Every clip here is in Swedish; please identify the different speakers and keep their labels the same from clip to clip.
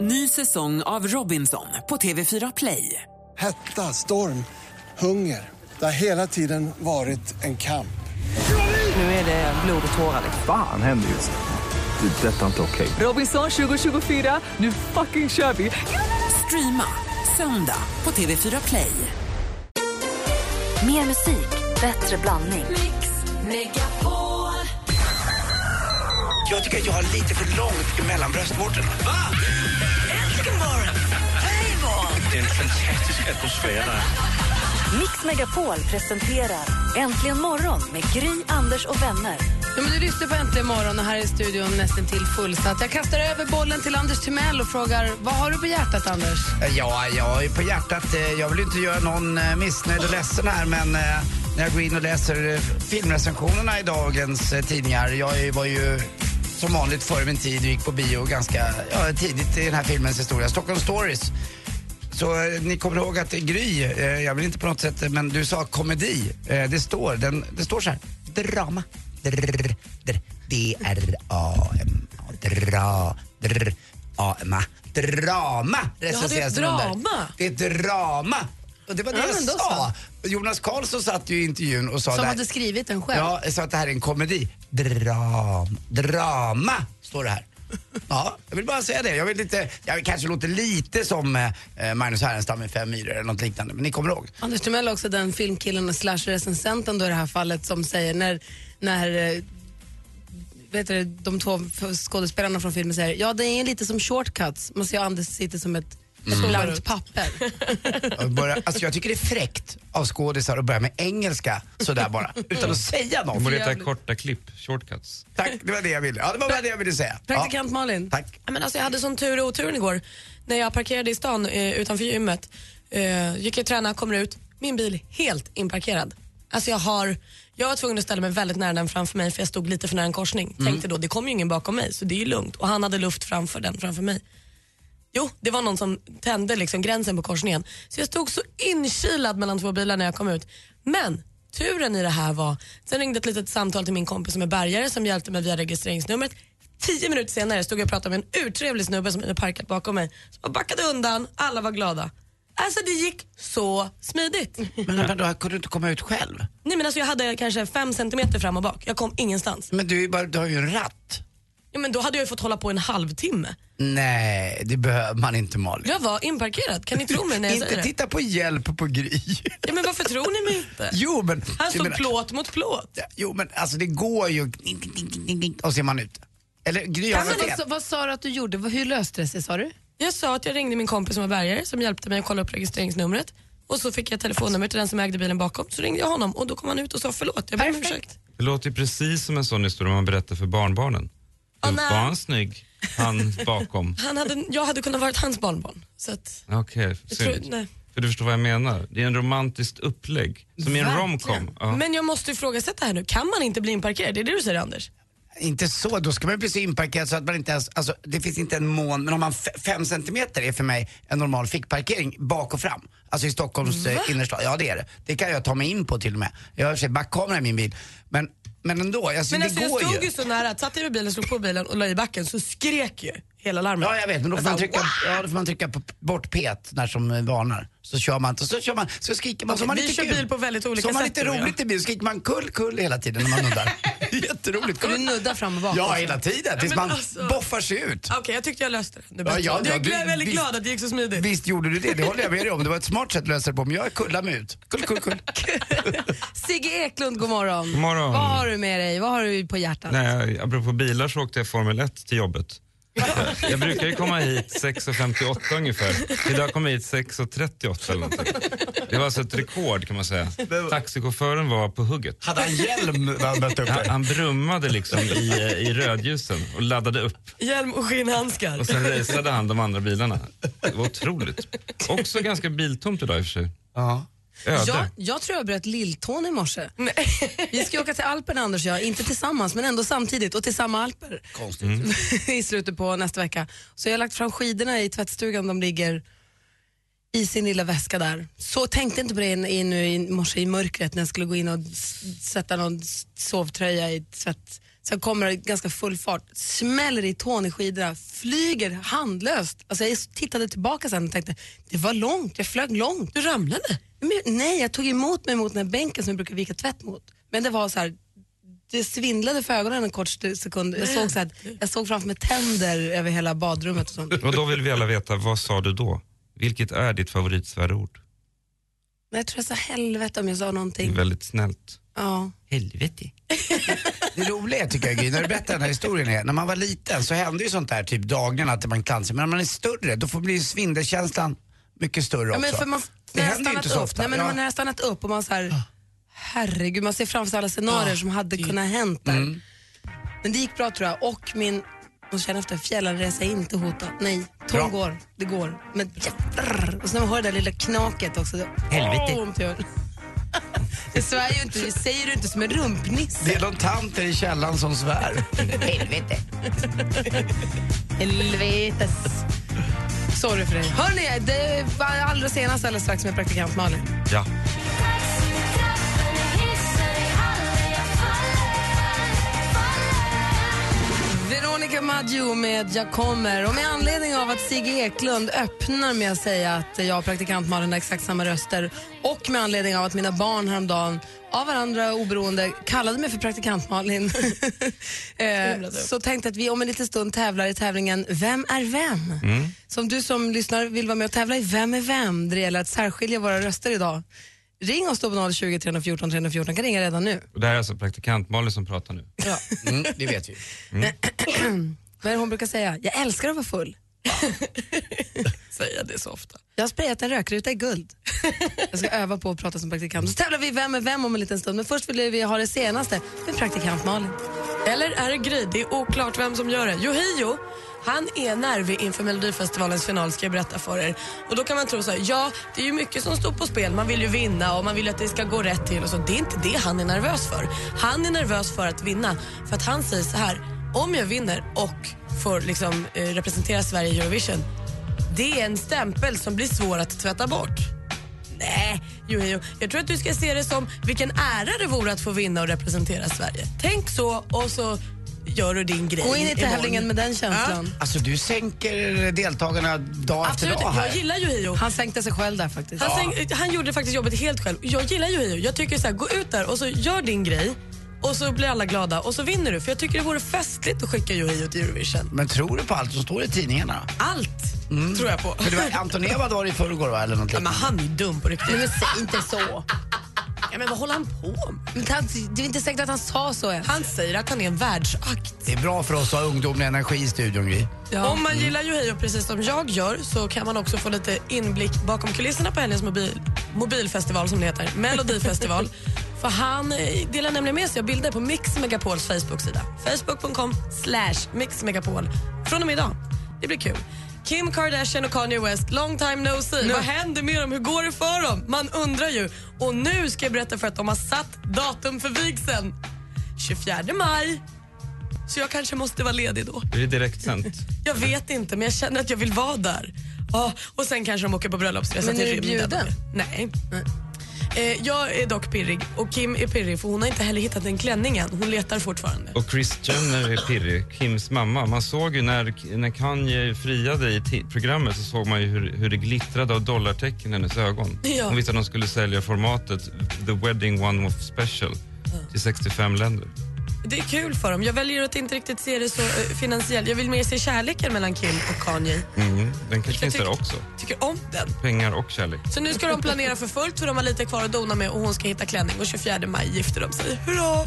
Speaker 1: Ny säsong av Robinson på TV4 Play.
Speaker 2: Hetta, storm, hunger. Det har hela tiden varit en kamp.
Speaker 1: Nu är det blod och tårar. liksom.
Speaker 3: Fan händer just nu. Det. är Detta är inte okej.
Speaker 1: Robinson 2024, nu fucking kör vi! Streama söndag på TV4 Play.
Speaker 4: Mer musik, bättre blandning.
Speaker 5: Jag tycker att jag har lite för långt mellan bröstvårtorna. Va? Äntligen morgon! Hej Det är en fantastisk atmosfär där.
Speaker 4: Mix Megapol presenterar Äntligen morgon med Gry, Anders och vänner.
Speaker 6: Ja, men du lyssnar på Äntligen morgon och här är studion nästan till fullsatt. Jag kastar över bollen till Anders Timell och frågar vad har du på hjärtat, Anders?
Speaker 7: Eh, Ja, jag är på hjärtat. eh, Jag vill inte göra någon eh, missnöjd och ledsen här men eh, när jag går in och läser eh, filmrecensionerna i dagens eh, tidningar. Jag är- var ju som vanligt före min tid och gick på bio ganska ja, tidigt i den här filmens historia. Stockholm Stories. Så eh, ni kommer ihåg att Gry, eh, jag vill inte på något sätt, eh, men du sa komedi. Eh, det, står, den, det står så här, drama. Drr, drr, D-R-A-M-A. Dra, drr, A-M-A. Drama recenseras
Speaker 6: Ja, det är
Speaker 7: den där.
Speaker 6: drama.
Speaker 7: Det är drama. Och det var det
Speaker 6: Ja,
Speaker 7: jag
Speaker 6: men då
Speaker 7: sa. Jonas Karlsson satt ju i intervjun och sa
Speaker 6: Som
Speaker 7: det här-
Speaker 6: hade skrivit den själv.
Speaker 7: Ja, jag sa att det här är en komedi. Dram, drama, står det här. Ja, jag vill bara säga det. Jag, vill inte, jag kanske låter lite som eh, Magnus Härenstam i Fem myror eller något liknande, men ni kommer ihåg.
Speaker 6: Anders Timell är också den filmkillen och slash recensenten då i det här fallet som säger när, när eh, vet du, de två f- skådespelarna från filmen säger ja det är lite som shortcuts. Man ser ju Anders sitter som ett
Speaker 7: Mm.
Speaker 6: blankt papper.
Speaker 7: Jag, börjar, alltså jag tycker det är fräckt av skådisar att börja med engelska sådär bara, utan att säga
Speaker 8: Det borde
Speaker 7: något.
Speaker 8: heta korta klipp, shortcuts.
Speaker 7: Tack, det var det jag ville. Ja, det var bara det jag ville säga. Ja,
Speaker 6: Praktikant Malin.
Speaker 7: tack.
Speaker 9: Ja, men alltså, jag hade sån tur och oturen igår. När jag parkerade i stan eh, utanför gymmet, eh, gick jag och tränade, kommer ut, min bil är helt inparkerad. Alltså jag, har, jag var tvungen att ställa mig väldigt nära den framför mig för jag stod lite för nära en korsning. Tänkte då, det kommer ju ingen bakom mig så det är ju lugnt. Och han hade luft framför den framför mig. Jo, det var någon som tände liksom gränsen på korsningen. Så jag stod så inkilad mellan två bilar när jag kom ut. Men turen i det här var, sen ringde ett litet samtal till min kompis som är bärgare som hjälpte mig via registreringsnumret. Tio minuter senare stod jag och pratade med en urtrevlig snubbe som hade parkat bakom mig. Så jag backade undan, alla var glada. Alltså det gick så smidigt.
Speaker 7: Men vadå, kunde du inte komma ut själv?
Speaker 9: Nej men alltså jag hade kanske fem centimeter fram och bak, jag kom ingenstans.
Speaker 7: Men du, är ju bara, du har ju en ratt.
Speaker 9: Ja, men då hade jag ju fått hålla på en halvtimme.
Speaker 7: Nej, det behöver man inte Malin.
Speaker 9: Jag var inparkerad, kan ni tro mig när jag säger
Speaker 7: Inte
Speaker 9: det?
Speaker 7: titta på hjälp på Gry.
Speaker 9: Ja, men varför tror ni mig inte?
Speaker 7: Jo men,
Speaker 9: Han
Speaker 7: jag
Speaker 9: stod
Speaker 7: menar-
Speaker 9: plåt mot plåt.
Speaker 7: jo men alltså det går ju och ser man ute. Eller Gry har
Speaker 6: Men
Speaker 7: väl
Speaker 6: vad, sa-
Speaker 7: fel?
Speaker 6: vad sa du att du gjorde? Vad- Hur löste det sig sa du?
Speaker 9: Jag sa att jag ringde min kompis som var bärgare som hjälpte mig att kolla upp registreringsnumret. Och så fick jag telefonnummer till den som ägde bilen bakom. Så ringde jag honom och då kom han ut och sa förlåt, jag ber om
Speaker 6: Perfekt.
Speaker 9: ursäkt.
Speaker 8: Det låter ju precis som en sån historia man berättar för barnbarnen.
Speaker 9: Åh,
Speaker 8: Oh,
Speaker 9: nej.
Speaker 8: var han snygg, han bakom?
Speaker 9: Han hade, jag hade kunnat vara hans barnbarn. Så att,
Speaker 8: Okej,
Speaker 9: jag tror,
Speaker 8: synd.
Speaker 9: nej.
Speaker 8: För du förstår vad jag menar. Det är en romantiskt upplägg, som i en
Speaker 6: Verkligen.
Speaker 8: romcom. Ja.
Speaker 9: Men jag måste ifrågasätta här nu, kan man inte bli inparkerad? Det är det du säger Anders?
Speaker 7: Inte så, då ska man ju bli så inparkerad så att man inte ens, alltså det finns inte en mån, men om man f- fem centimeter är för mig en normal fickparkering bak och fram. Alltså i Stockholms eh, innerstad, ja det är det. Det kan jag ta mig in på till och med. Jag har i och för sig backkamera i min bil. Men, men ändå, alltså,
Speaker 9: Men
Speaker 7: det
Speaker 9: alltså, jag
Speaker 7: går
Speaker 9: stod
Speaker 7: ju.
Speaker 9: ju så nära, att satt jag i bilen, slog på bilen och la i backen så skrek ju hela larmet.
Speaker 7: Ja, jag vet, men då får man
Speaker 9: sa,
Speaker 7: trycka, ja, då får man trycka på, bort pet när som eh, varnar. Så kör man inte, så kör man, så skriker man.
Speaker 9: Okej,
Speaker 7: så man
Speaker 9: vi
Speaker 7: lite
Speaker 9: kör
Speaker 7: kul.
Speaker 9: bil på väldigt olika
Speaker 7: så har man
Speaker 9: sätt,
Speaker 7: lite
Speaker 9: tror jag.
Speaker 7: roligt i bil, så skriker man kull, kull hela tiden när man nuddar. Jätteroligt.
Speaker 6: Ska du nudda fram och bak?
Speaker 7: Ja,
Speaker 6: också?
Speaker 7: hela tiden, tills
Speaker 9: men
Speaker 7: man
Speaker 9: alltså.
Speaker 7: boffar sig ut.
Speaker 9: Okej, jag tyckte jag löste det. det
Speaker 7: Ja,
Speaker 9: ja,
Speaker 7: ja, ja,
Speaker 9: jag
Speaker 7: du-
Speaker 9: är väldigt
Speaker 7: visst.
Speaker 9: glad att det gick så smidigt.
Speaker 7: Visst gjorde du det, det håller jag med dig om. Det var ett smart sätt att lösa det på, men jag kullar mig ut. Kull, kull, kull.
Speaker 6: Sigge Eklund, god morgon.
Speaker 8: God morgon.
Speaker 6: Vad har du med dig? Vad har du på hjärtat?
Speaker 8: Nej, apropå bilar så åkte jag Formel 1 till jobbet. Jag brukar ju komma hit 6.58 ungefär. Idag kom jag hit 6.38 eller någonting. Det var alltså ett rekord kan man säga. Taxichauffören var på hugget.
Speaker 7: Hade han hjälm när han mötte upp
Speaker 8: Han,
Speaker 7: dig?
Speaker 8: han brummade liksom i, eh, i rödljusen och laddade upp.
Speaker 9: Hjälm och skinnhandskar.
Speaker 8: Och sen raceade han de andra bilarna. Det var otroligt. Också ganska biltomt idag i och för sig.
Speaker 7: Ja.
Speaker 8: Öde.
Speaker 6: Jag, jag tror jag bröt lilltån i morse. Vi ska åka till Alperna Anders och jag, inte tillsammans men ändå samtidigt och till samma alper
Speaker 7: Konstigt.
Speaker 6: i slutet på nästa vecka. Så jag har lagt fram skidorna i tvättstugan, de ligger i sin lilla väska där. Så tänkte inte på det in, in, nu i morse i mörkret när jag skulle gå in och s- sätta någon s- sovtröja i tvätt,
Speaker 7: Så jag kommer i ganska full fart, smäller i tån i skidorna, flyger handlöst. Alltså jag tittade tillbaka sen och tänkte, det var långt, jag flög långt.
Speaker 9: Du ramlade.
Speaker 7: Men, nej, jag tog emot mig mot den här bänken som jag brukar vika tvätt mot. Men det var så här, det svindlade för ögonen en kort stu- sekund. Jag såg, så här, jag såg framför mig tänder över hela badrummet och sånt.
Speaker 8: Och då vill vi alla veta, vad sa du då? Vilket är ditt favoritsvärord?
Speaker 7: Men jag tror jag sa helvete om jag sa
Speaker 8: Det är
Speaker 9: Mm.
Speaker 7: någonting.
Speaker 8: väldigt snällt.
Speaker 7: Ja.
Speaker 6: Helvete. Det roliga tycker jag Gry, när du berättar den här historien är, när man var liten så hände ju sånt där typ dagligen att man klankade sig. Men när man är större då får blir svindelkänslan mycket större
Speaker 7: Ja,
Speaker 6: också.
Speaker 7: men för man,
Speaker 6: det
Speaker 7: när jag
Speaker 6: händer ju
Speaker 7: stannat
Speaker 6: inte så
Speaker 7: upp,
Speaker 6: ofta.
Speaker 7: Nej, men
Speaker 6: Ja.
Speaker 7: när man har stannat upp och man så här, herregud, man ser framför sig alla scenarier som hade kunnat hänt där.
Speaker 6: Mm.
Speaker 7: Men det gick bra tror jag och min, och känner efter, fjällresa är inte hotad. Nej,
Speaker 6: Bra.
Speaker 7: tåg går, det går. Men jävlar! Och sen när man hör det där lilla knaket också. Det,
Speaker 6: Helvete.
Speaker 7: Åh, ont i öronen. Det svär ju inte, det säger du inte som en rumpnisse.
Speaker 6: Det är någon tant där i källaren som svär.
Speaker 7: Helvetes. Sorry för det. Hörni, det var allra senast alldeles strax med praktikant Malin.
Speaker 8: Ja.
Speaker 7: Veronica Maggio med Jag kommer. Och med anledning av att Sigge Eklund öppnar med att säga att jag och praktikant Malin har exakt samma röster och med anledning av att mina barn häromdagen av varandra oberoende kallade mig för praktikant Malin eh, så tänkte jag att vi om en liten stund tävlar i tävlingen Vem är vem? Så om du som lyssnar vill vara med och tävla i Vem är vem? där Det gäller att särskilja våra röster idag. Ring oss då på 020 314 314. kan ringa redan nu.
Speaker 8: Och det här är alltså praktikant Malin som pratar nu.
Speaker 6: Mm, det vet vi.
Speaker 7: Vad är det hon brukar säga? Jag älskar att vara full.
Speaker 9: Säger det så ofta.
Speaker 7: Jag har sprayat en rökruta i guld. Jag ska öva på att prata som praktikant. Så tävlar vi Vem är vem om en liten stund. Men först vill vi ha det senaste med praktikant Malin.
Speaker 9: Eller är det Gry? Det är oklart vem som gör det. Yohio, han är nervig inför Melodifestivalens final ska jag berätta för er. Och då kan man tro så här, ja det är ju mycket som står på spel. Man vill ju vinna och man vill ju att det ska gå rätt till och så. Det är inte det han är nervös för. Han är nervös för att vinna. För att han säger så här, om jag vinner och får liksom eh, representera Sverige i Eurovision. Det är en stämpel som blir svår att tvätta bort. Nej, jo, jo. jag tror att du ska se det som vilken ära det vore att få vinna och representera Sverige. Tänk så och så gör du din grej.
Speaker 7: Gå in i
Speaker 9: imorgon.
Speaker 7: tävlingen med den känslan.
Speaker 6: Alltså du sänker deltagarna dag
Speaker 9: Absolut,
Speaker 6: efter dag här.
Speaker 9: jag gillar Johio. Han,
Speaker 7: Han sänkte sig själv där faktiskt.
Speaker 9: säng- han gjorde faktiskt jobbet helt själv. Jag gillar Johio. Jag tycker så här, gå ut där och så gör din grej och så blir alla glada och så vinner du. För jag tycker det vore festligt att skicka Johio till Eurovision.
Speaker 6: Men tror du på allt som står i tidningarna?
Speaker 9: Allt tror jag på.
Speaker 6: För det var Antoneva var det i förrgår va? Eller något
Speaker 9: Mm. Ja, men han
Speaker 6: liknande.
Speaker 9: är ju dum på riktigt.
Speaker 7: Men säg inte så.
Speaker 9: Ja, men vad håller han på med?
Speaker 7: Men han, det är inte säkert att han sa så ens.
Speaker 9: Han säger att han är en världsakt.
Speaker 6: Det är bra för oss att ha ungdomlig energi i studion Gry.
Speaker 9: Om man gillar Yohio precis som jag gör så kan man också få lite inblick bakom kulisserna på hennes mobil, mobilfestival som det heter, Melodifestival. För han eh, delar nämligen med sig av bilder på Mix Megapols Facebook-sida. Facebook.com slash Mix Megapol från och med idag. Det blir kul. Kim Kardashian och Kanye West, long time no see. Vad händer med dem? Hur går det för dem? Man undrar ju. Och nu ska jag berätta för att de har satt datum för vigseln. 24 maj. Så jag kanske måste vara ledig då.
Speaker 8: Är det direktsänt?
Speaker 9: Jag vet inte, men jag känner att jag vill vara där. Ja, och sen kanske de åker på bröllopsresa
Speaker 7: Men
Speaker 9: till
Speaker 7: är du
Speaker 9: rymden.
Speaker 7: bjuden?
Speaker 9: Nej. Eh, jag är dock pirrig och Kim är pirrig för hon har inte heller hittat en klänning än. Hon letar fortfarande.
Speaker 8: Och Kris Jenner är pirrig, Kims mamma. Man såg ju när, när Kanye friade i ti- programmet så såg man ju hur, hur det glittrade av dollartecken i hennes ögon.
Speaker 9: Ja.
Speaker 8: Hon visste att de skulle sälja formatet The Wedding One Off Special till 65 länder.
Speaker 9: Det är kul för dem. Jag väljer att inte riktigt se det så eh, finansiellt. Jag vill mer se kärleken mellan Kim och Kanye.
Speaker 8: Mm. Den kanske finns
Speaker 9: tyck-
Speaker 8: där också.
Speaker 9: Tycker om den.
Speaker 8: Pengar och kärlek.
Speaker 9: Så nu ska de planera för fullt för de har lite kvar att dona med och hon ska hitta klänning och 24 maj gifter de sig. Hurra!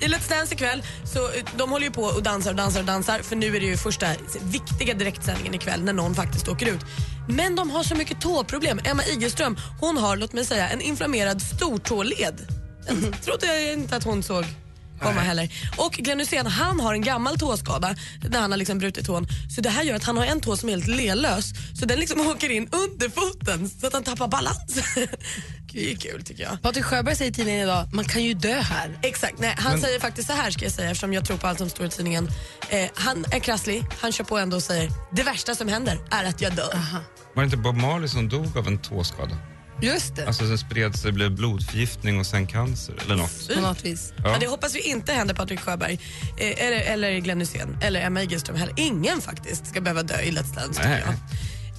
Speaker 9: I Let's Dance ikväll, så eh, de håller ju på och dansar och dansar och dansar för nu är det ju första viktiga direktsändningen ikväll när någon faktiskt åker ut. Men de har så mycket tåproblem. Emma Igelström, hon har, låt mig säga, en inflammerad stortåled. Den trodde jag inte att hon såg komma heller. Och Glenn Hysén, han har en gammal tåskada där han har liksom brutit tån. Så det här gör att han har en tå som är helt lelös. Så den liksom åker in under foten så att han tappar balans. Det är kul tycker jag.
Speaker 7: Patrik Sjöberg säger i tidningen idag, man kan ju dö här.
Speaker 9: Exakt, nej, han säger faktiskt så här ska jag säga eftersom jag tror på allt som står i tidningen. Eh, han är krasslig, han kör på ändå och säger det värsta som händer är att jag dör.
Speaker 8: Var det inte Bob Marley som dog av en tåskada?
Speaker 9: Just det.
Speaker 8: Alltså sen spreds det, blev blodförgiftning och sen cancer eller något.
Speaker 9: På något vis.
Speaker 8: Ja.
Speaker 10: Ja, det hoppas vi inte händer Patrik Sjöberg, eh, eller, eller Glenn Hysén, eller Emma Igelström heller. Ingen faktiskt ska behöva dö i Let's Dance. tycker
Speaker 8: Nej.
Speaker 10: jag.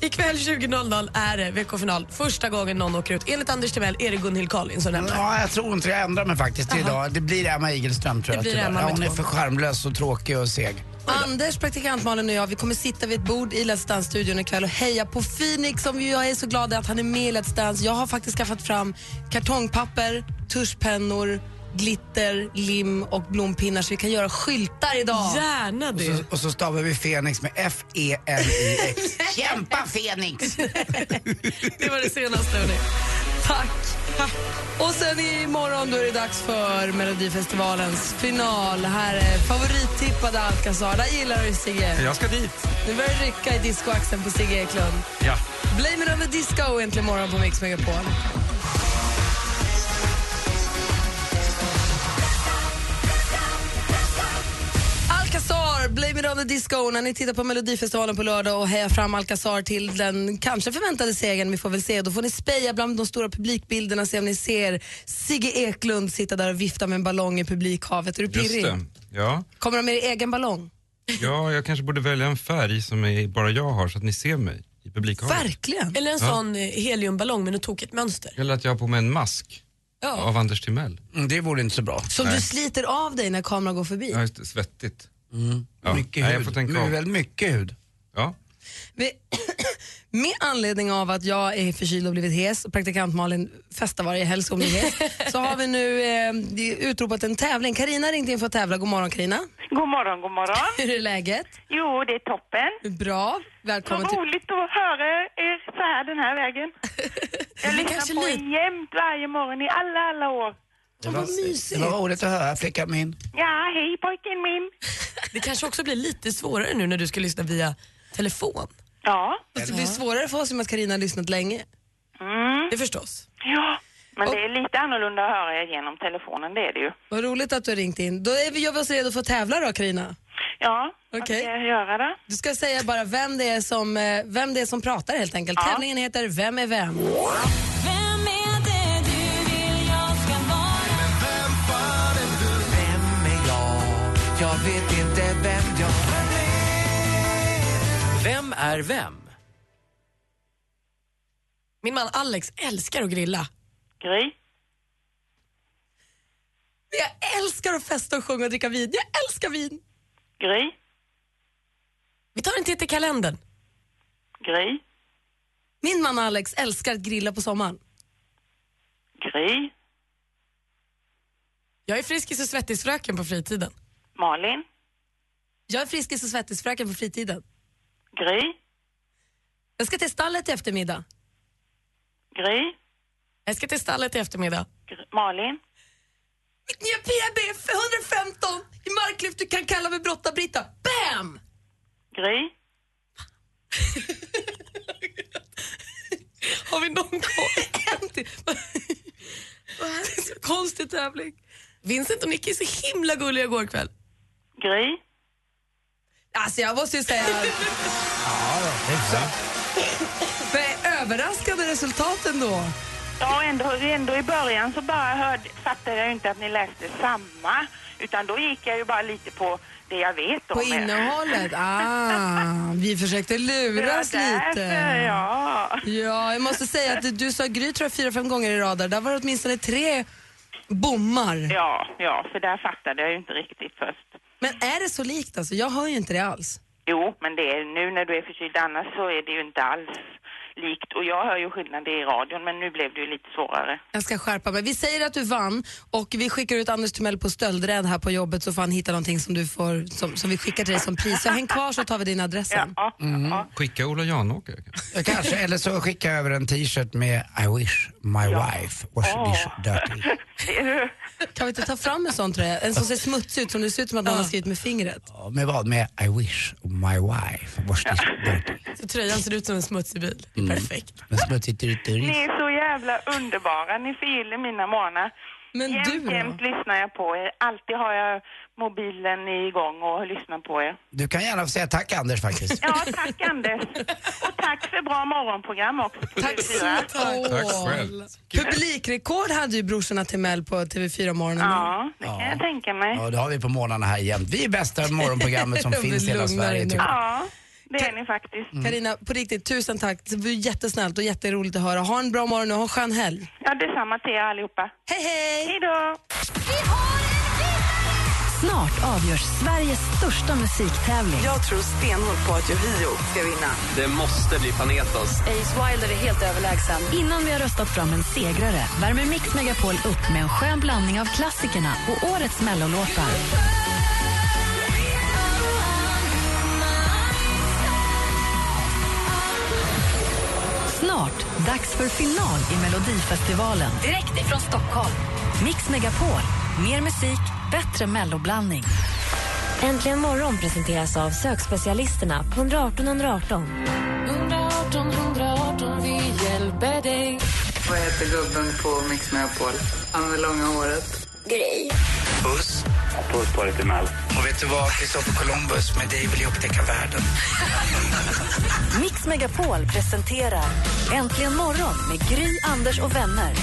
Speaker 10: Ikväll 20.00 är det VK-final. Första gången någon åker ut. Enligt Anders Timell är det Gunhild Carlin som lämnar.
Speaker 6: Ja, jag tror inte jag ändrar mig faktiskt till idag. Det blir Emma Igelström tror
Speaker 10: Det
Speaker 6: jag.
Speaker 10: blir
Speaker 6: tyvärr.
Speaker 10: Emma
Speaker 6: ja,
Speaker 10: med
Speaker 6: hon är
Speaker 10: två.
Speaker 6: för charmlös och tråkig och seg.
Speaker 9: Anders, praktikant Malin och jag, vi kommer sitta vid ett bord i Let's Dance-studion ikväll och heja på Phoenix som ju jag är så glad att han är med i Let's Dance. Jag har faktiskt skaffat fram kartongpapper, tuschpennor, glitter, lim och blompinnar så vi kan göra skyltar idag.
Speaker 10: Gärna det.
Speaker 6: Och så stavar vi Fenix med E F-E-N-I-X. Kämpa Fenix!
Speaker 10: Det var det senaste hörni.
Speaker 9: Tack! Och sen imorgon då är det dags för Melodifestivalens final. Här är favorittippade Alcazar. Där gillar du Sigge.
Speaker 8: Jag ska dit.
Speaker 9: Nu börjar det rycka i discoaxeln på Sigge Eklund.
Speaker 8: Ja.
Speaker 9: Blame it on the disco äntligen morgon på Mix Megapol. Alcazar, Blame it on the disco när ni tittar på Melodifestivalen på lördag och hejar fram Alcazar till den kanske förväntade segern, vi får väl se. Då får ni speja bland de stora publikbilderna, se om ni ser Sigge Eklund sitta där och vifta med en ballong i publikhavet. Är du
Speaker 8: Just
Speaker 9: pirrig?
Speaker 8: det. Ja.
Speaker 9: Kommer de med er egen ballong?
Speaker 8: ja, jag kanske borde välja en färg som är, bara jag har så att ni ser mig i publikhavet.
Speaker 9: Verkligen!
Speaker 10: Eller en sån eh, heliumballong med något tokigt mönster.
Speaker 8: Eller att jag har på mig en mask
Speaker 10: Ja.
Speaker 8: av Anders Timell.
Speaker 6: Mm, Det vore inte så bra.
Speaker 9: Som du sliter av dig när kameran går förbi.
Speaker 8: Ja, just det, svettigt. Ja.
Speaker 6: Mm. Mycket
Speaker 8: Nej, jag får
Speaker 6: hud.
Speaker 8: tänka
Speaker 6: Men
Speaker 8: om.
Speaker 6: väldigt mycket hud.
Speaker 8: Ja.
Speaker 9: Vi- Med anledning av att jag är förkyld och blivit hes och praktikant Malin festar varje helg så hon blir hes så har vi nu eh, utropat en tävling. Karina ringde in för att tävla. God morgon Karina.
Speaker 11: God morgon, god morgon.
Speaker 9: Hur är läget?
Speaker 11: Jo, det är toppen.
Speaker 9: Bra. Välkommen
Speaker 11: Vad
Speaker 9: till...
Speaker 11: roligt att höra er så här den här vägen. Jag
Speaker 10: kanske
Speaker 11: lyssnar på
Speaker 10: lite-
Speaker 11: er jämt varje morgon i alla, alla år.
Speaker 6: Det var,
Speaker 9: mysigt.
Speaker 6: det var roligt att höra flickan min.
Speaker 11: Ja, hej pojken min.
Speaker 10: Det kanske också blir lite svårare nu när du ska lyssna via telefon.
Speaker 11: Ja,
Speaker 9: Alltså, Det blir svårare för oss i och med att Karina har lyssnat länge.
Speaker 10: Det förstås.
Speaker 11: Mm. ja. Men det är lite annorlunda att höra er genom telefonen, det är det ju.
Speaker 9: Vad roligt att du har ringt in. Då är vi, gör vi oss redo för att tävla då Karina.
Speaker 11: Ja, vad
Speaker 9: Okej.
Speaker 11: ska jag göra då?
Speaker 9: Du ska säga bara vem det är som, eh, vem det är som pratar helt enkelt. Tävlingen heter Vem är vem?
Speaker 12: Vem är vem?
Speaker 10: Min man Alex älskar att grilla.
Speaker 11: Gry?
Speaker 9: Jag älskar att festa och sjunga och dricka vin. Jag älskar vin!
Speaker 11: Gry?
Speaker 10: Vi tar en titt i kalendern.
Speaker 11: Gry?
Speaker 9: Min man Alex älskar att grilla på sommaren.
Speaker 11: Gry?
Speaker 10: Jag är Friskis och svettisfröken på fritiden.
Speaker 11: Malin?
Speaker 9: Jag är Friskis och svettisfröken på fritiden.
Speaker 11: Gry?
Speaker 9: Jag ska till stallet i eftermiddag.
Speaker 11: Gry?
Speaker 10: Jag ska till stallet i eftermiddag.
Speaker 11: Gry? Malin?
Speaker 9: Mitt nya PB 115 i marklyft. Du kan kalla mig Brotta-Britta. Bam!
Speaker 11: Gry?
Speaker 10: Har vi någon kvar?
Speaker 9: En till. Så Konstig tävling.
Speaker 10: Vincent och Nicky är så himla gulliga igår kväll.
Speaker 11: Gry?
Speaker 9: Alltså jag måste ju säga... För överraskande resultat ändå.
Speaker 11: Ja, ändå, ändå i början så bara hörde, fattade jag ju inte att ni läste samma. Utan då gick jag ju bara lite på det jag vet om
Speaker 9: På
Speaker 11: er.
Speaker 9: innehållet. Ah, vi försökte
Speaker 11: Det var
Speaker 9: luras lite.
Speaker 11: därför, Ja.
Speaker 9: Ja, jag måste säga att du, du sa Gry tror jag fyra, fem gånger i rad där. Där var det åtminstone tre bommar.
Speaker 11: ja, ja, för där fattade jag ju inte riktigt först.
Speaker 9: Men är det så likt alltså? Jag hör ju inte det alls.
Speaker 11: Jo, men det är nu när du är förkyld annars så är det ju inte alls likt. Och jag hör ju skillnad i radion, men nu blev det ju lite svårare.
Speaker 9: Jag ska skärpa mig. Vi säger att du vann och vi skickar ut Anders Timell på stöldräd här på jobbet så får han hitta någonting som, du får, som, som vi skickar till dig som pris. Så häng kvar så tar vi din adress sen.
Speaker 11: Ja, ja.
Speaker 8: Skicka Ola Janåker. kanske.
Speaker 6: Jag Kanske, eller så skickar jag över en t-shirt med I wish my wife was this dirty.
Speaker 11: Ser du?
Speaker 9: Kan vi inte ta fram en sån tröja? En som ser smutsig ut, som det ser ut som att någon har skrivit med fingret.
Speaker 6: Ja, Med vad? Med I wish my wife was this dirty.
Speaker 10: Så tröjan ser ut som en smutsig bil. Det är
Speaker 6: Mm.
Speaker 10: Perfekt.
Speaker 6: Men smutsigt dirty.
Speaker 11: Ni är så jävla underbara. Ni förgyller mina morgnar.
Speaker 9: Men
Speaker 11: jämt,
Speaker 9: du då?
Speaker 11: jämt lyssnar jag på er. Alltid har jag mobilen igång och lyssnar på er.
Speaker 6: Du kan gärna få säga tack Anders faktiskt.
Speaker 11: Ja, tack Anders. Och tack för för bra morgonprogram också på
Speaker 9: Tack så
Speaker 11: TV4.
Speaker 9: mycket. Tack själv. Publikrekord hade ju brorsorna Timell på TV4 morgonen.
Speaker 11: Ja, det kan jag tänka mig.
Speaker 6: Ja, det har vi på morgnarna här jämt. Vi är bästa morgonprogrammet som
Speaker 9: Om du
Speaker 6: finns i hela
Speaker 9: lugnar
Speaker 6: Sverige.
Speaker 9: dig
Speaker 6: Typ. Mm.
Speaker 9: nu.
Speaker 11: Ja, det är ni faktiskt.
Speaker 9: Karina, på riktigt, tusen tack. Det var jättesnällt och jätteroligt att höra. Ha en bra morgon och ha en skön helg.
Speaker 11: Ja, detsamma till er allihopa.
Speaker 9: Hej, hej!
Speaker 11: Hej då!
Speaker 4: Snart avgörs Sveriges största musiktävling.
Speaker 1: Jag tror stenhårt på att Yohio ska vinna.
Speaker 12: Det måste bli Panetos.
Speaker 4: Ace Wilder är helt överlägsen. Innan vi har röstat fram en segrare värmer Mix Megapol upp med en skön blandning av klassikerna och årets mellolåtar. Snart dags för final i Melodifestivalen. Direkt ifrån Stockholm. Mix Megapol. Mer musik, bättre melloblandning.
Speaker 13: Äntligen morgon presenteras av sökspecialisterna på 118 118.
Speaker 14: 118 118, vi hjälper dig. Vad heter gubben på Mix Megapol? Han med långa håret. Grej.
Speaker 6: Puss. Puss på dig till Och vet du vad, Kristoffer Columbus, med dig vill jag upptäcka världen.
Speaker 4: Mix Megapol presenterar Äntligen morgon med Gry, Anders och vänner.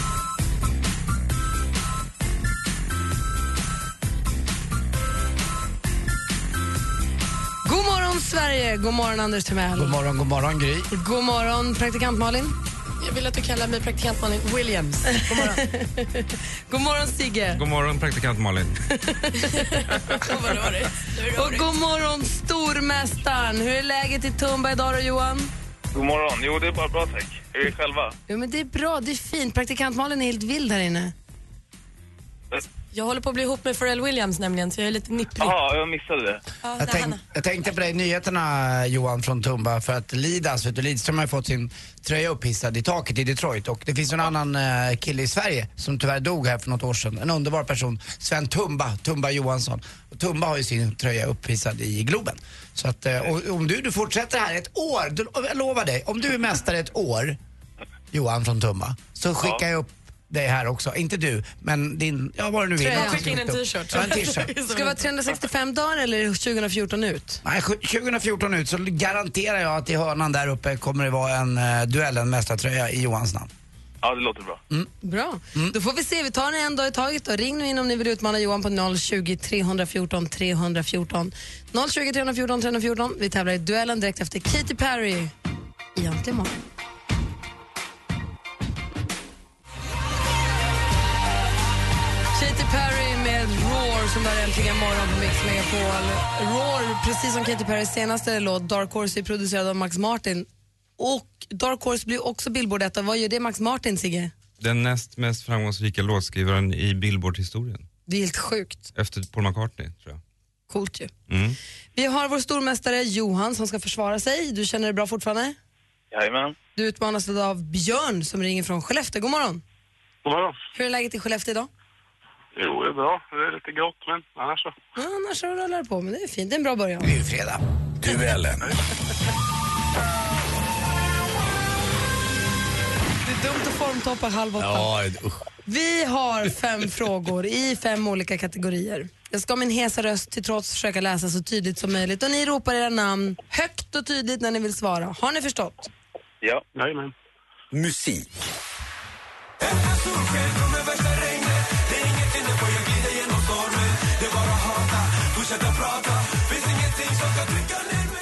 Speaker 9: God morgon Sverige! God morgon Anders Timell. God
Speaker 6: morgon, god morgon Gry.
Speaker 9: God morgon praktikant Malin.
Speaker 10: Jag vill att du kallar mig praktikant Malin Williams.
Speaker 9: God morgon. god morgon Sigge.
Speaker 8: God morgon praktikant Malin.
Speaker 9: Och god morgon stormästaren. Hur är läget i Tumba idag då Johan?
Speaker 3: God morgon. Jo, det är bara bra tack. Hur är själva?
Speaker 9: Jo men det är bra, det är fint. Praktikant Malin är helt vild här inne.
Speaker 10: Jag håller på att bli ihop med Pharrell Williams nämligen, så jag är lite nipplig.
Speaker 3: Jaha, jag missade det.
Speaker 10: Ja,
Speaker 6: Jag,
Speaker 10: det är
Speaker 6: tänk,
Speaker 10: Hanna.
Speaker 6: jag tänkte på dig i nyheterna Johan från Tumba för att Lidas, vet du, Lidström har ju fått sin tröja upphissad i taket i Detroit och det finns ju en annan eh, kille i Sverige som tyvärr dog här för något år sedan. En underbar person, Sven Tumba, Tumba Johansson. Och Tumba har ju sin tröja upphissad i Globen. Så att eh, och, om du, du fortsätter här ett år, du, jag lovar dig, om du är mästare ett år, Johan från Tumba, så skickar jag upp dig här också. Inte du, men din, ja vad det nu är.
Speaker 9: Tröjan.
Speaker 6: någon som
Speaker 9: Skicka in en
Speaker 6: skickar upp.
Speaker 9: t-shirt.
Speaker 6: Ja, en t-shirt.
Speaker 9: Ska det vara 365 dagar eller är det 2014 ut?
Speaker 6: Nej, sju- 2014 ut så garanterar jag att i hörnan där uppe kommer det vara en eh, duellen mästartröja i Johans namn.
Speaker 3: Ja, det låter bra.
Speaker 9: Bra. Då får vi se. Vi tar den en dag i taget. Då. Ring nu in om ni vill utmana Johan på 020 314 314. 020 314 314. Vi tävlar i duellen direkt efter Katy Perry i Äntligen morgon. Katy Perry med Roar som var äntligen morgon på Mix Megapol. Roar, precis som Katy Perrys senaste låt Dark Horse, är producerad av Max Martin. Och Dark Horse blir också Billboard detta. Vad gör det Max Martin, Sigge?
Speaker 8: Den näst mest framgångsrika låtskrivaren i Billboard-historien.
Speaker 9: Det är helt sjukt.
Speaker 8: Efter Paul McCartney, tror
Speaker 9: Coolt ju.
Speaker 8: jag. Mm.
Speaker 9: Vi har vår stormästare Johan som ska försvara sig. Du känner dig bra fortfarande?
Speaker 3: Jajamän.
Speaker 9: Du utmanas idag av Björn som ringer från Skellefteå. God morgon.
Speaker 3: God morgon.
Speaker 9: Hur är läget i Skellefteå idag?
Speaker 3: Jo, det är bra. Det är lite grått, men annars så.
Speaker 9: Ja, annars så rullar det på, men det är fint. Det är en bra början.
Speaker 6: Det är ju fredag.
Speaker 3: Duellen.
Speaker 9: Det är dumt att formtoppa halv åtta. Vi har fem frågor i fem olika kategorier. Jag ska min hesa röst till trots försöka läsa så tydligt som möjligt och ni ropar era namn högt och tydligt när ni vill svara. Har ni förstått?
Speaker 3: Ja. Jajamän. Musik.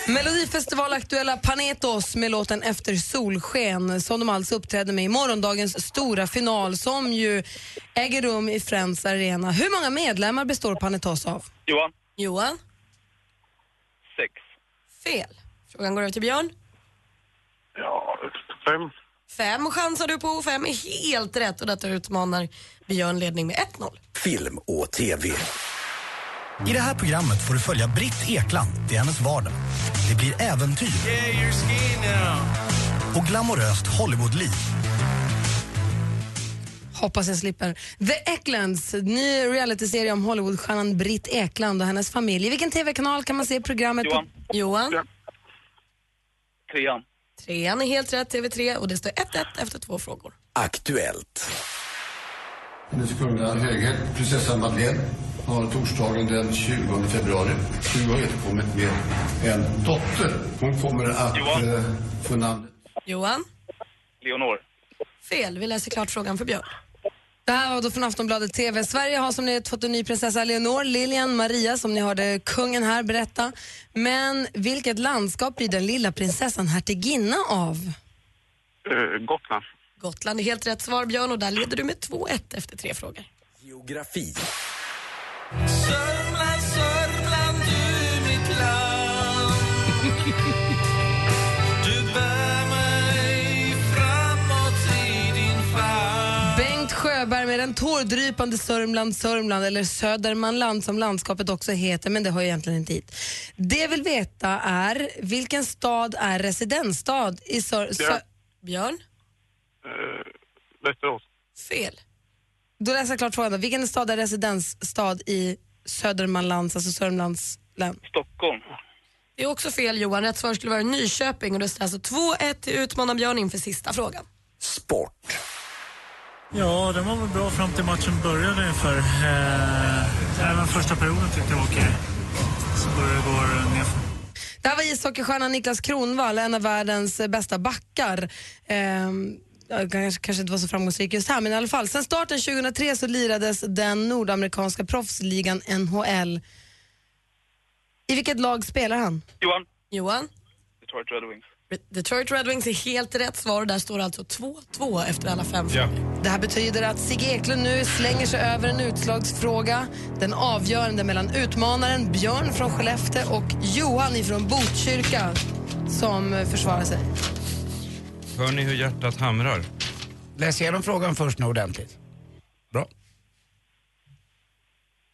Speaker 9: Melodifestivalaktuella Panetos med låten Efter solsken som de alltså uppträder med i morgondagens stora final som ju äger rum i Friends Arena. Hur många medlemmar består Panetos av?
Speaker 3: Johan.
Speaker 10: Johan?
Speaker 3: Sex.
Speaker 10: Fel. Frågan går över till Björn.
Speaker 3: Ja, fem.
Speaker 10: Fem chansar du på, fem är helt rätt och detta utmanar Björn ledning med 1-0.
Speaker 15: Film och TV. I det här programmet får du följa Britt Ekland i hennes vardag. Det blir äventyr och glamoröst Hollywoodliv.
Speaker 9: Hoppas jag slipper. The Ecklands, ny realityserie om Hollywoodstjärnan Britt Ekland och hennes familj. I vilken TV-kanal kan man se programmet? Johan. På?
Speaker 10: Johan?
Speaker 3: Trean.
Speaker 10: Trean är helt rätt, TV3, och det står 1-1 efter två frågor.
Speaker 15: Aktuellt.
Speaker 7: Hennes kungliga höghet, prinsessan Madeleine, har torsdagen den 20 februari 2001 kommit med en dotter. Hon kommer att eh, få namnet
Speaker 10: Johan?
Speaker 12: Leonor.
Speaker 10: Fel. Vi läser klart frågan för Björn.
Speaker 9: Det här var då från Aftonbladet TV. Sverige har som ni vet fått en ny prinsessa Leonor, Lilian Maria, som ni hörde kungen här berätta. Men vilket landskap blir den lilla prinsessan hertiginna av?
Speaker 3: Eh, Gotland.
Speaker 10: Gotland är helt rätt svar Björn och där leder du med 2-1 efter tre frågor.
Speaker 12: Geografi.
Speaker 1: Sörmland, Sörmland, du mitt land Du bär mig framåt i din famn
Speaker 9: Bengt Sjöberg med den tårdrypande Sörmland, Sörmland eller Södermanland som landskapet också heter, men det har ju egentligen inte hit. Det jag vill veta är vilken stad är residensstad i Sör...
Speaker 3: Björn.
Speaker 9: Sö- Björn?
Speaker 3: Eh, Västerås.
Speaker 10: Fel.
Speaker 9: Då läser jag klart frågan. då. Vilken stad är residensstad i Södermanlands, alltså Sörmlands län?
Speaker 10: Stockholm. Det är också fel Johan. Rätt svar skulle vara Nyköping och det står alltså 2-1 till utmanar Björn inför sista frågan.
Speaker 12: Sport.
Speaker 16: Ja, den var väl bra fram till matchen började ungefär. Eh, även första perioden tyckte jag var okej. Så började det gå nerför.
Speaker 9: Det här var ishockeystjärnan Niklas Kronwall, en av världens eh, bästa backar. Ehm, ja, kanske, kanske inte var så framgångsrik just här, men i alla fall. Sen starten 2003 så lirades den nordamerikanska proffsligan NHL. I vilket lag spelar han?
Speaker 10: Johan. Johan.
Speaker 3: Detroit Red Wings.
Speaker 10: Detroit Red Wings är helt rätt svar. Där står det alltså 2-2 efter alla fem
Speaker 3: Ja.
Speaker 9: Det här betyder att Sigge Eklund nu slänger sig över en utslagsfråga. Den avgörande mellan utmanaren Björn från Skellefteå och Johan ifrån Botkyrka som eh, försvarar sig.
Speaker 8: Hör ni hur hjärtat hamrar?
Speaker 6: Läs igenom frågan först nu ordentligt.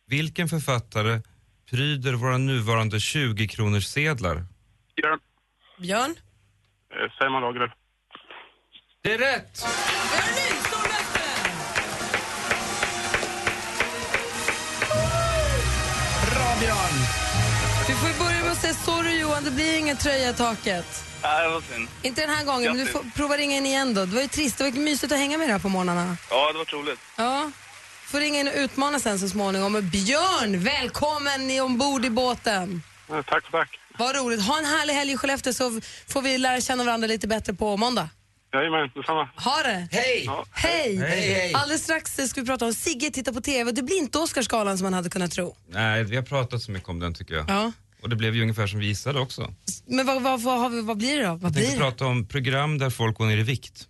Speaker 8: Vilken författare pryder våra nuvarande 20-kronors sedlar?
Speaker 3: Björn.
Speaker 10: Björn?
Speaker 3: Eh, Simon Lagerlöf.
Speaker 8: Det är rätt!
Speaker 6: Bra Björn!
Speaker 9: Du får ju börja med att säga sorry Johan, det blir ingen tröja i taket.
Speaker 17: Ja, det var synd.
Speaker 9: Inte den här gången, men du får prova ringa in igen då. Det var ju trist, det var ju mysigt att hänga med dig här på morgnarna.
Speaker 17: Ja, det var troligt.
Speaker 9: Ja. Får ringa in och utmana sen så småningom. Och Björn, välkommen ni ombord i båten.
Speaker 3: Eh, Tack, tack.
Speaker 9: Vad roligt. Ha en härlig helg i Skellefteå så får vi lära känna varandra lite bättre på måndag.
Speaker 3: Jajamän, detsamma.
Speaker 9: Ha det!
Speaker 3: Hej! Ja.
Speaker 9: Hej!
Speaker 3: Hej, hej.
Speaker 9: Alldeles strax ska vi prata om Sigge tittar på TV. Det blir inte Oscarsgalan som man hade kunnat tro.
Speaker 8: Nej, vi har pratat så mycket om den tycker jag.
Speaker 9: Ja.
Speaker 8: Och det blev ju ungefär som vi gissade också.
Speaker 9: Men vad, vad, vad, har vi, vad blir det då? Vad
Speaker 8: Jag tänkte
Speaker 9: blir det?
Speaker 8: prata om program där folk går ner i vikt.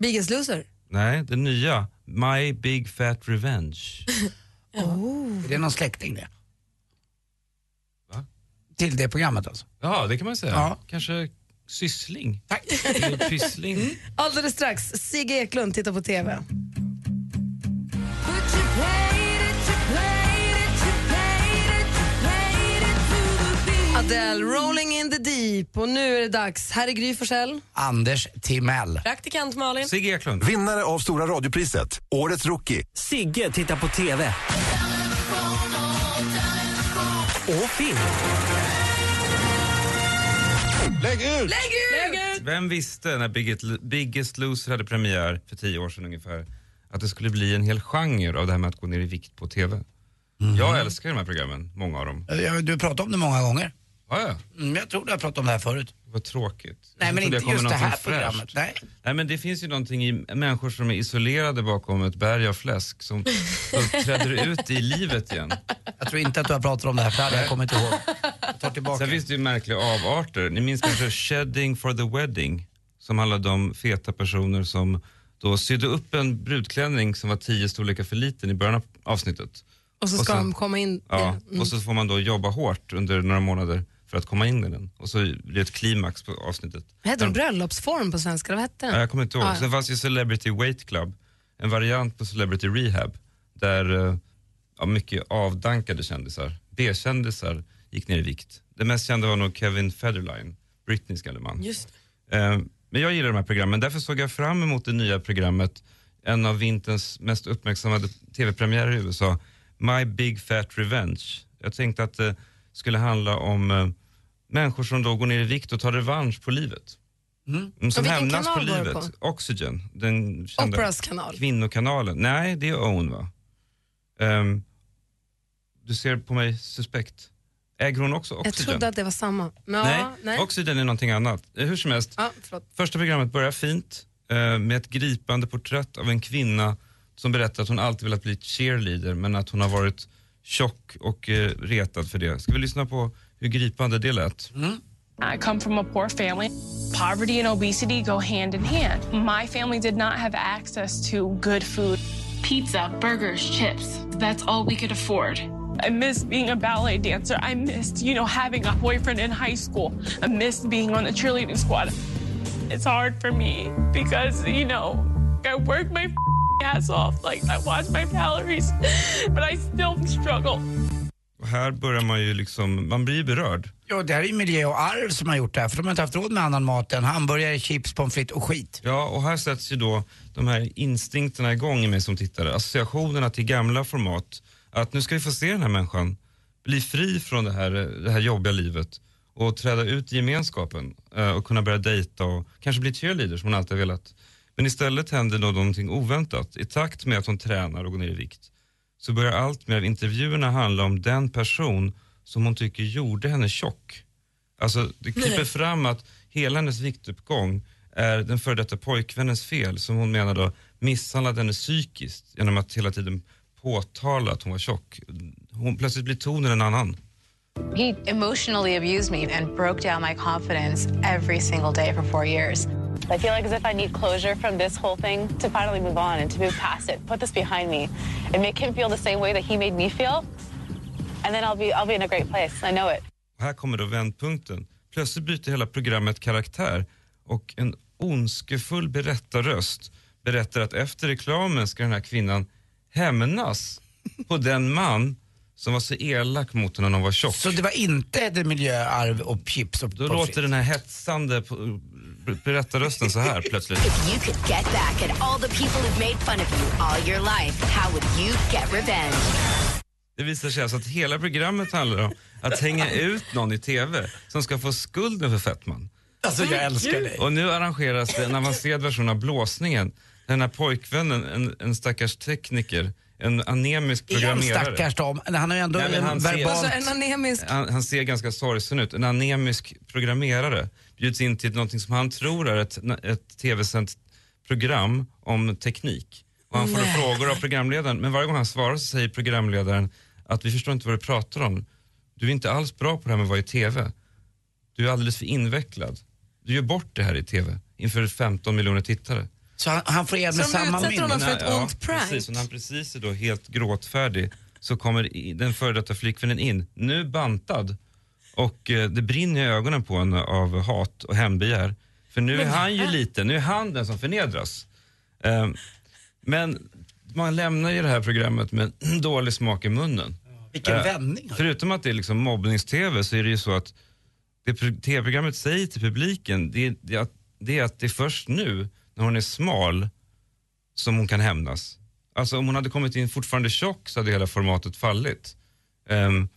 Speaker 9: Biggest loser?
Speaker 8: Nej, det nya. My Big Fat Revenge.
Speaker 9: Oh.
Speaker 6: Är det någon släkting det? Till det programmet alltså?
Speaker 8: Ja, det kan man säga.
Speaker 6: Ja.
Speaker 8: Kanske syssling. Tack. Pyssling.
Speaker 9: Mm. Alldeles strax, Sigge Eklund tittar på TV. Adele, Rolling in the deep och nu är det dags. Här är Gry Forssell.
Speaker 6: Anders Timell.
Speaker 9: Praktikant Malin.
Speaker 8: Sigge Eklund.
Speaker 18: Vinnare av Stora radiopriset, Årets rookie. Sigge tittar på TV.
Speaker 1: Och film.
Speaker 8: Lägg ut!
Speaker 1: Lägg ut! Lägg ut!
Speaker 8: Vem visste när Biggest, Biggest Loser hade premiär för tio år sedan ungefär att det skulle bli en hel genre av det här med att gå ner i vikt på TV?
Speaker 6: Mhm.
Speaker 8: Jag älskar de här programmen, många av dem.
Speaker 6: Ja, Du pratade om det många gånger.
Speaker 8: Ja, ja.
Speaker 6: Mm, jag tror du har pratat om det här förut.
Speaker 8: Vad tråkigt.
Speaker 6: Nej,
Speaker 8: Jag
Speaker 6: men inte
Speaker 8: trodde jag kom med
Speaker 6: just det
Speaker 8: någonting
Speaker 6: här programmet.
Speaker 8: fräscht.
Speaker 6: Nej.
Speaker 8: Nej, men det finns ju någonting i människor som är isolerade bakom ett berg av fläsk som som träder ut i livet igen.
Speaker 6: Jag tror inte att du har pratat om det här, för det hade jag kommit ihåg.
Speaker 8: Sen finns det ju märkliga avarter. Ni minns kanske Shedding for the Wedding som handlade om feta personer som då sydde upp en brudklänning som var tio storlekar för liten i början av avsnittet.
Speaker 9: Och så ska
Speaker 8: sen-
Speaker 9: de komma in.
Speaker 8: Ja,
Speaker 9: Mm.
Speaker 8: och så får man då jobba hårt under några månader för att komma in i den. Och så blir det ett klimax på avsnittet.
Speaker 9: Vad Hette den bröllopsform på svenska? Vad hette den?
Speaker 8: Ja, jag kommer inte ihåg.
Speaker 9: Ja, ja.
Speaker 8: Sen fanns ju Celebrity Weight Club, en variant på Celebrity Rehab där eh, ja, mycket avdankade kändisar, B-kändisar, gick ner i vikt. Det mest kända var nog Kevin Federline, Britneys gamle man.
Speaker 10: Just
Speaker 8: Eh, Men jag gillar de här programmen. Därför såg jag fram emot det nya programmet, en av vinterns mest uppmärksammade tv-premiärer i USA, My Big Fat Revenge. Jag tänkte att det skulle handla om eh, människor som då går ner i vikt och tar revansch på livet. Mm,
Speaker 9: Och
Speaker 8: Som
Speaker 9: vilken
Speaker 8: hämnas på
Speaker 9: kanal var det
Speaker 8: livet. Oxygen. Den kända
Speaker 9: Operas kanal.
Speaker 8: Kvinnokanalen. Nej, det är Own va? Ehm, du ser på mig suspekt. Äger hon också
Speaker 9: Jag
Speaker 8: Oxygen?
Speaker 9: trodde att det var samma. Men,
Speaker 8: nej,
Speaker 9: ja, nej.
Speaker 8: Oxygen är någonting annat. Eh, Hur som helst,
Speaker 9: Ja, förlåt.
Speaker 8: Första programmet börjar fint eh, med ett gripande porträtt av en kvinna som berättar att hon alltid velat bli cheerleader men att hon har varit tjock och eh, retad för det. Ska vi lyssna på hur gripande det lät?
Speaker 17: I come from a poor family. Poverty and obesity go hand in hand. My family did not have access to good food. Pizza, burgers, chips. That's all we could afford. I missed being a ballet dancer. I missed, you know, having a boyfriend in high school. I missed being on the cheerleading squad. It's hard for me because, you know, I work my ass off. Like, I watch my calories, but I still struggle.
Speaker 8: Och här börjar man ju liksom, man blir ju berörd.
Speaker 6: Jo, det här är ju miljö och arv som har gjort det här för de har inte haft råd med annan mat än hamburgare, chips, pommes frites och skit.
Speaker 8: Ja, och här sätts ju då de här instinkterna igång i mig som tittare. Associationerna till gamla format. Att nu ska vi få se den här människan bli fri från det här, det här jobbiga livet och träda ut i gemenskapen eh, och kunna börja dejta och kanske bli cheerleader som hon alltid har velat. Men istället händer då någonting oväntat. I takt med att hon tränar och går ner i vikt så börjar allt mer av intervjuerna handla om den person som hon tycker gjorde henne tjock. Alltså det kryper
Speaker 19: Nej.
Speaker 8: fram att hela hennes viktuppgång är den före detta pojkvännens fel som hon menar då misshandlade henne psykiskt genom att hela tiden påtala att hon var tjock. Hon, plötsligt blir tonen en annan.
Speaker 20: He emotionally abused me and broke down my confidence every single day for four years. I feel like as if I need closure from this whole thing to finally move on and to move past it, put this behind me, and make him feel the same way that he made me feel. And then I'll be I'll be in a great place. I know it.
Speaker 8: Och här kommer då vändpunkten. Plötsligt byter hela programmet karaktär och en ondskefull berättarröst berättar att efter reklamen ska den här kvinnan hämnas på den man som var så elak mot henne när hon var tjock.
Speaker 6: Så det var inte det miljöarv och chips och
Speaker 8: Då låter den här hetsande på- berättarrösten så här plötsligt.
Speaker 21: If you could get back at all the people who've made fun of you all your life, how would you get revenge?
Speaker 8: Det visar sig alltså att hela programmet handlar om att hänga ut någon i TV som ska få skulden för fettman.
Speaker 6: Alltså jag älskar dig.
Speaker 8: Och nu arrangeras det en avancerad version av blåsningen. Den här pojkvännen, en, en stackars tekniker, en anemisk
Speaker 6: Är han
Speaker 8: programmerare.
Speaker 6: stackars då? Men Han har ju ändå
Speaker 8: Nej, men han
Speaker 6: en
Speaker 8: ser-
Speaker 6: verbal...
Speaker 9: Alltså en anemisk...
Speaker 8: Han, han ser ganska sorgsen ut. En anemisk programmerare bjuds in till någonting som han tror är ett, ett tv-sänt program om teknik. Och han får då
Speaker 22: Nej.
Speaker 8: frågor av programledaren, men varje gång han svarar så säger programledaren att vi förstår inte vad du pratar om. Du är inte alls bra på det här med att vara i tv. Du är alldeles för invecklad. Du gör bort det här i tv inför 15 miljoner tittare.
Speaker 6: Så han, han får hjälp med samma
Speaker 8: Ja, Precis, och när han precis är då helt gråtfärdig så kommer i- den före detta flickvännen in, nu bantad. Och eh, det brinner i ögonen på henne av hat och hämndbegär. För nu är
Speaker 22: Men-
Speaker 8: han ju liten, nu är han den som förnedras. Ehm, men man lämnar ju det här programmet med en dålig smak i munnen.
Speaker 6: Vilken
Speaker 8: Eh,
Speaker 6: vändning.
Speaker 8: Förutom att det är liksom mobbnings-tv så är det ju så att det pro- tv-programmet säger till publiken det, är- det, är att, det är att det är först nu när hon är smal som hon kan hämnas. Alltså om hon hade kommit in fortfarande tjock så hade hela formatet fallit. Ehm,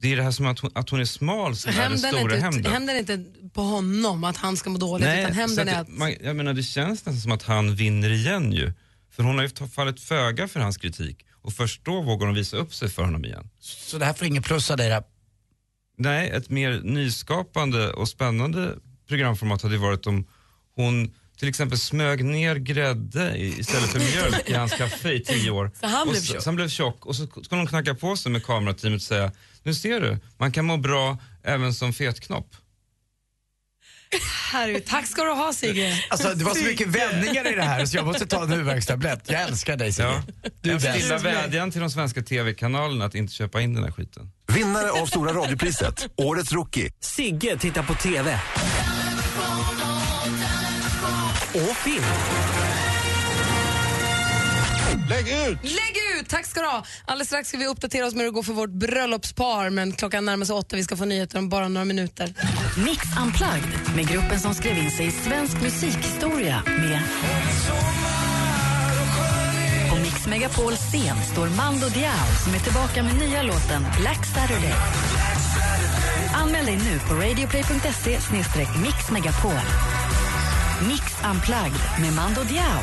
Speaker 8: det är det här som att hon, att hon är smal som är den
Speaker 9: Hämnden
Speaker 8: stora
Speaker 9: är, inte,
Speaker 8: hämnden.
Speaker 9: hämnden är inte på honom att han ska må dåligt utan
Speaker 8: så
Speaker 9: hämnden är
Speaker 8: att
Speaker 9: att...
Speaker 8: det, man, jag menar det känns nästan som att han vinner igen ju. För hon har ju fallit föga för hans kritik och först då vågar hon visa upp sig för honom igen.
Speaker 6: Så det här får inget plus av dig då?
Speaker 8: Nej, ett mer nyskapande och spännande programformat hade ju varit om hon till exempel smög ner grädde i- istället för mjölk i hans kaffe i tio år.
Speaker 10: Så han
Speaker 8: och
Speaker 10: blev
Speaker 8: så,
Speaker 10: tjock.
Speaker 8: så han blev tjock och så ska hon knacka på sig med kamerateamet och säga nu ser du, man kan må bra även som fetknopp.
Speaker 9: Herregud, tack ska du ha Sigge.
Speaker 6: Alltså det var så mycket vändningar i det här så jag måste ta en huvudvärkstablett. Jag älskar dig Sigge. Du är
Speaker 8: en
Speaker 6: bäst.
Speaker 8: stilla vädjan till de svenska tv-kanalerna att inte köpa in den här skiten.
Speaker 18: Vinnare av Stora radiopriset, Årets rookie. Sigge tittar på TV.
Speaker 1: Och film.
Speaker 7: Lägg ut!
Speaker 9: Lägg ut! Tack ska du ha. Alldeles strax ska vi uppdatera oss med hur det går för vårt bröllopspar men klockan närmar sig åtta. Vi ska få nyheter om bara några minuter.
Speaker 4: Mix Unplugged med gruppen som skrev in sig i svensk musikhistoria med... På Mix Megapol scen står Mando Diao som är tillbaka med nya låten Black Saturday. Anmäl dig nu på radioplay.se mixmegapol.
Speaker 13: Mix Unplugged med Mando Diao.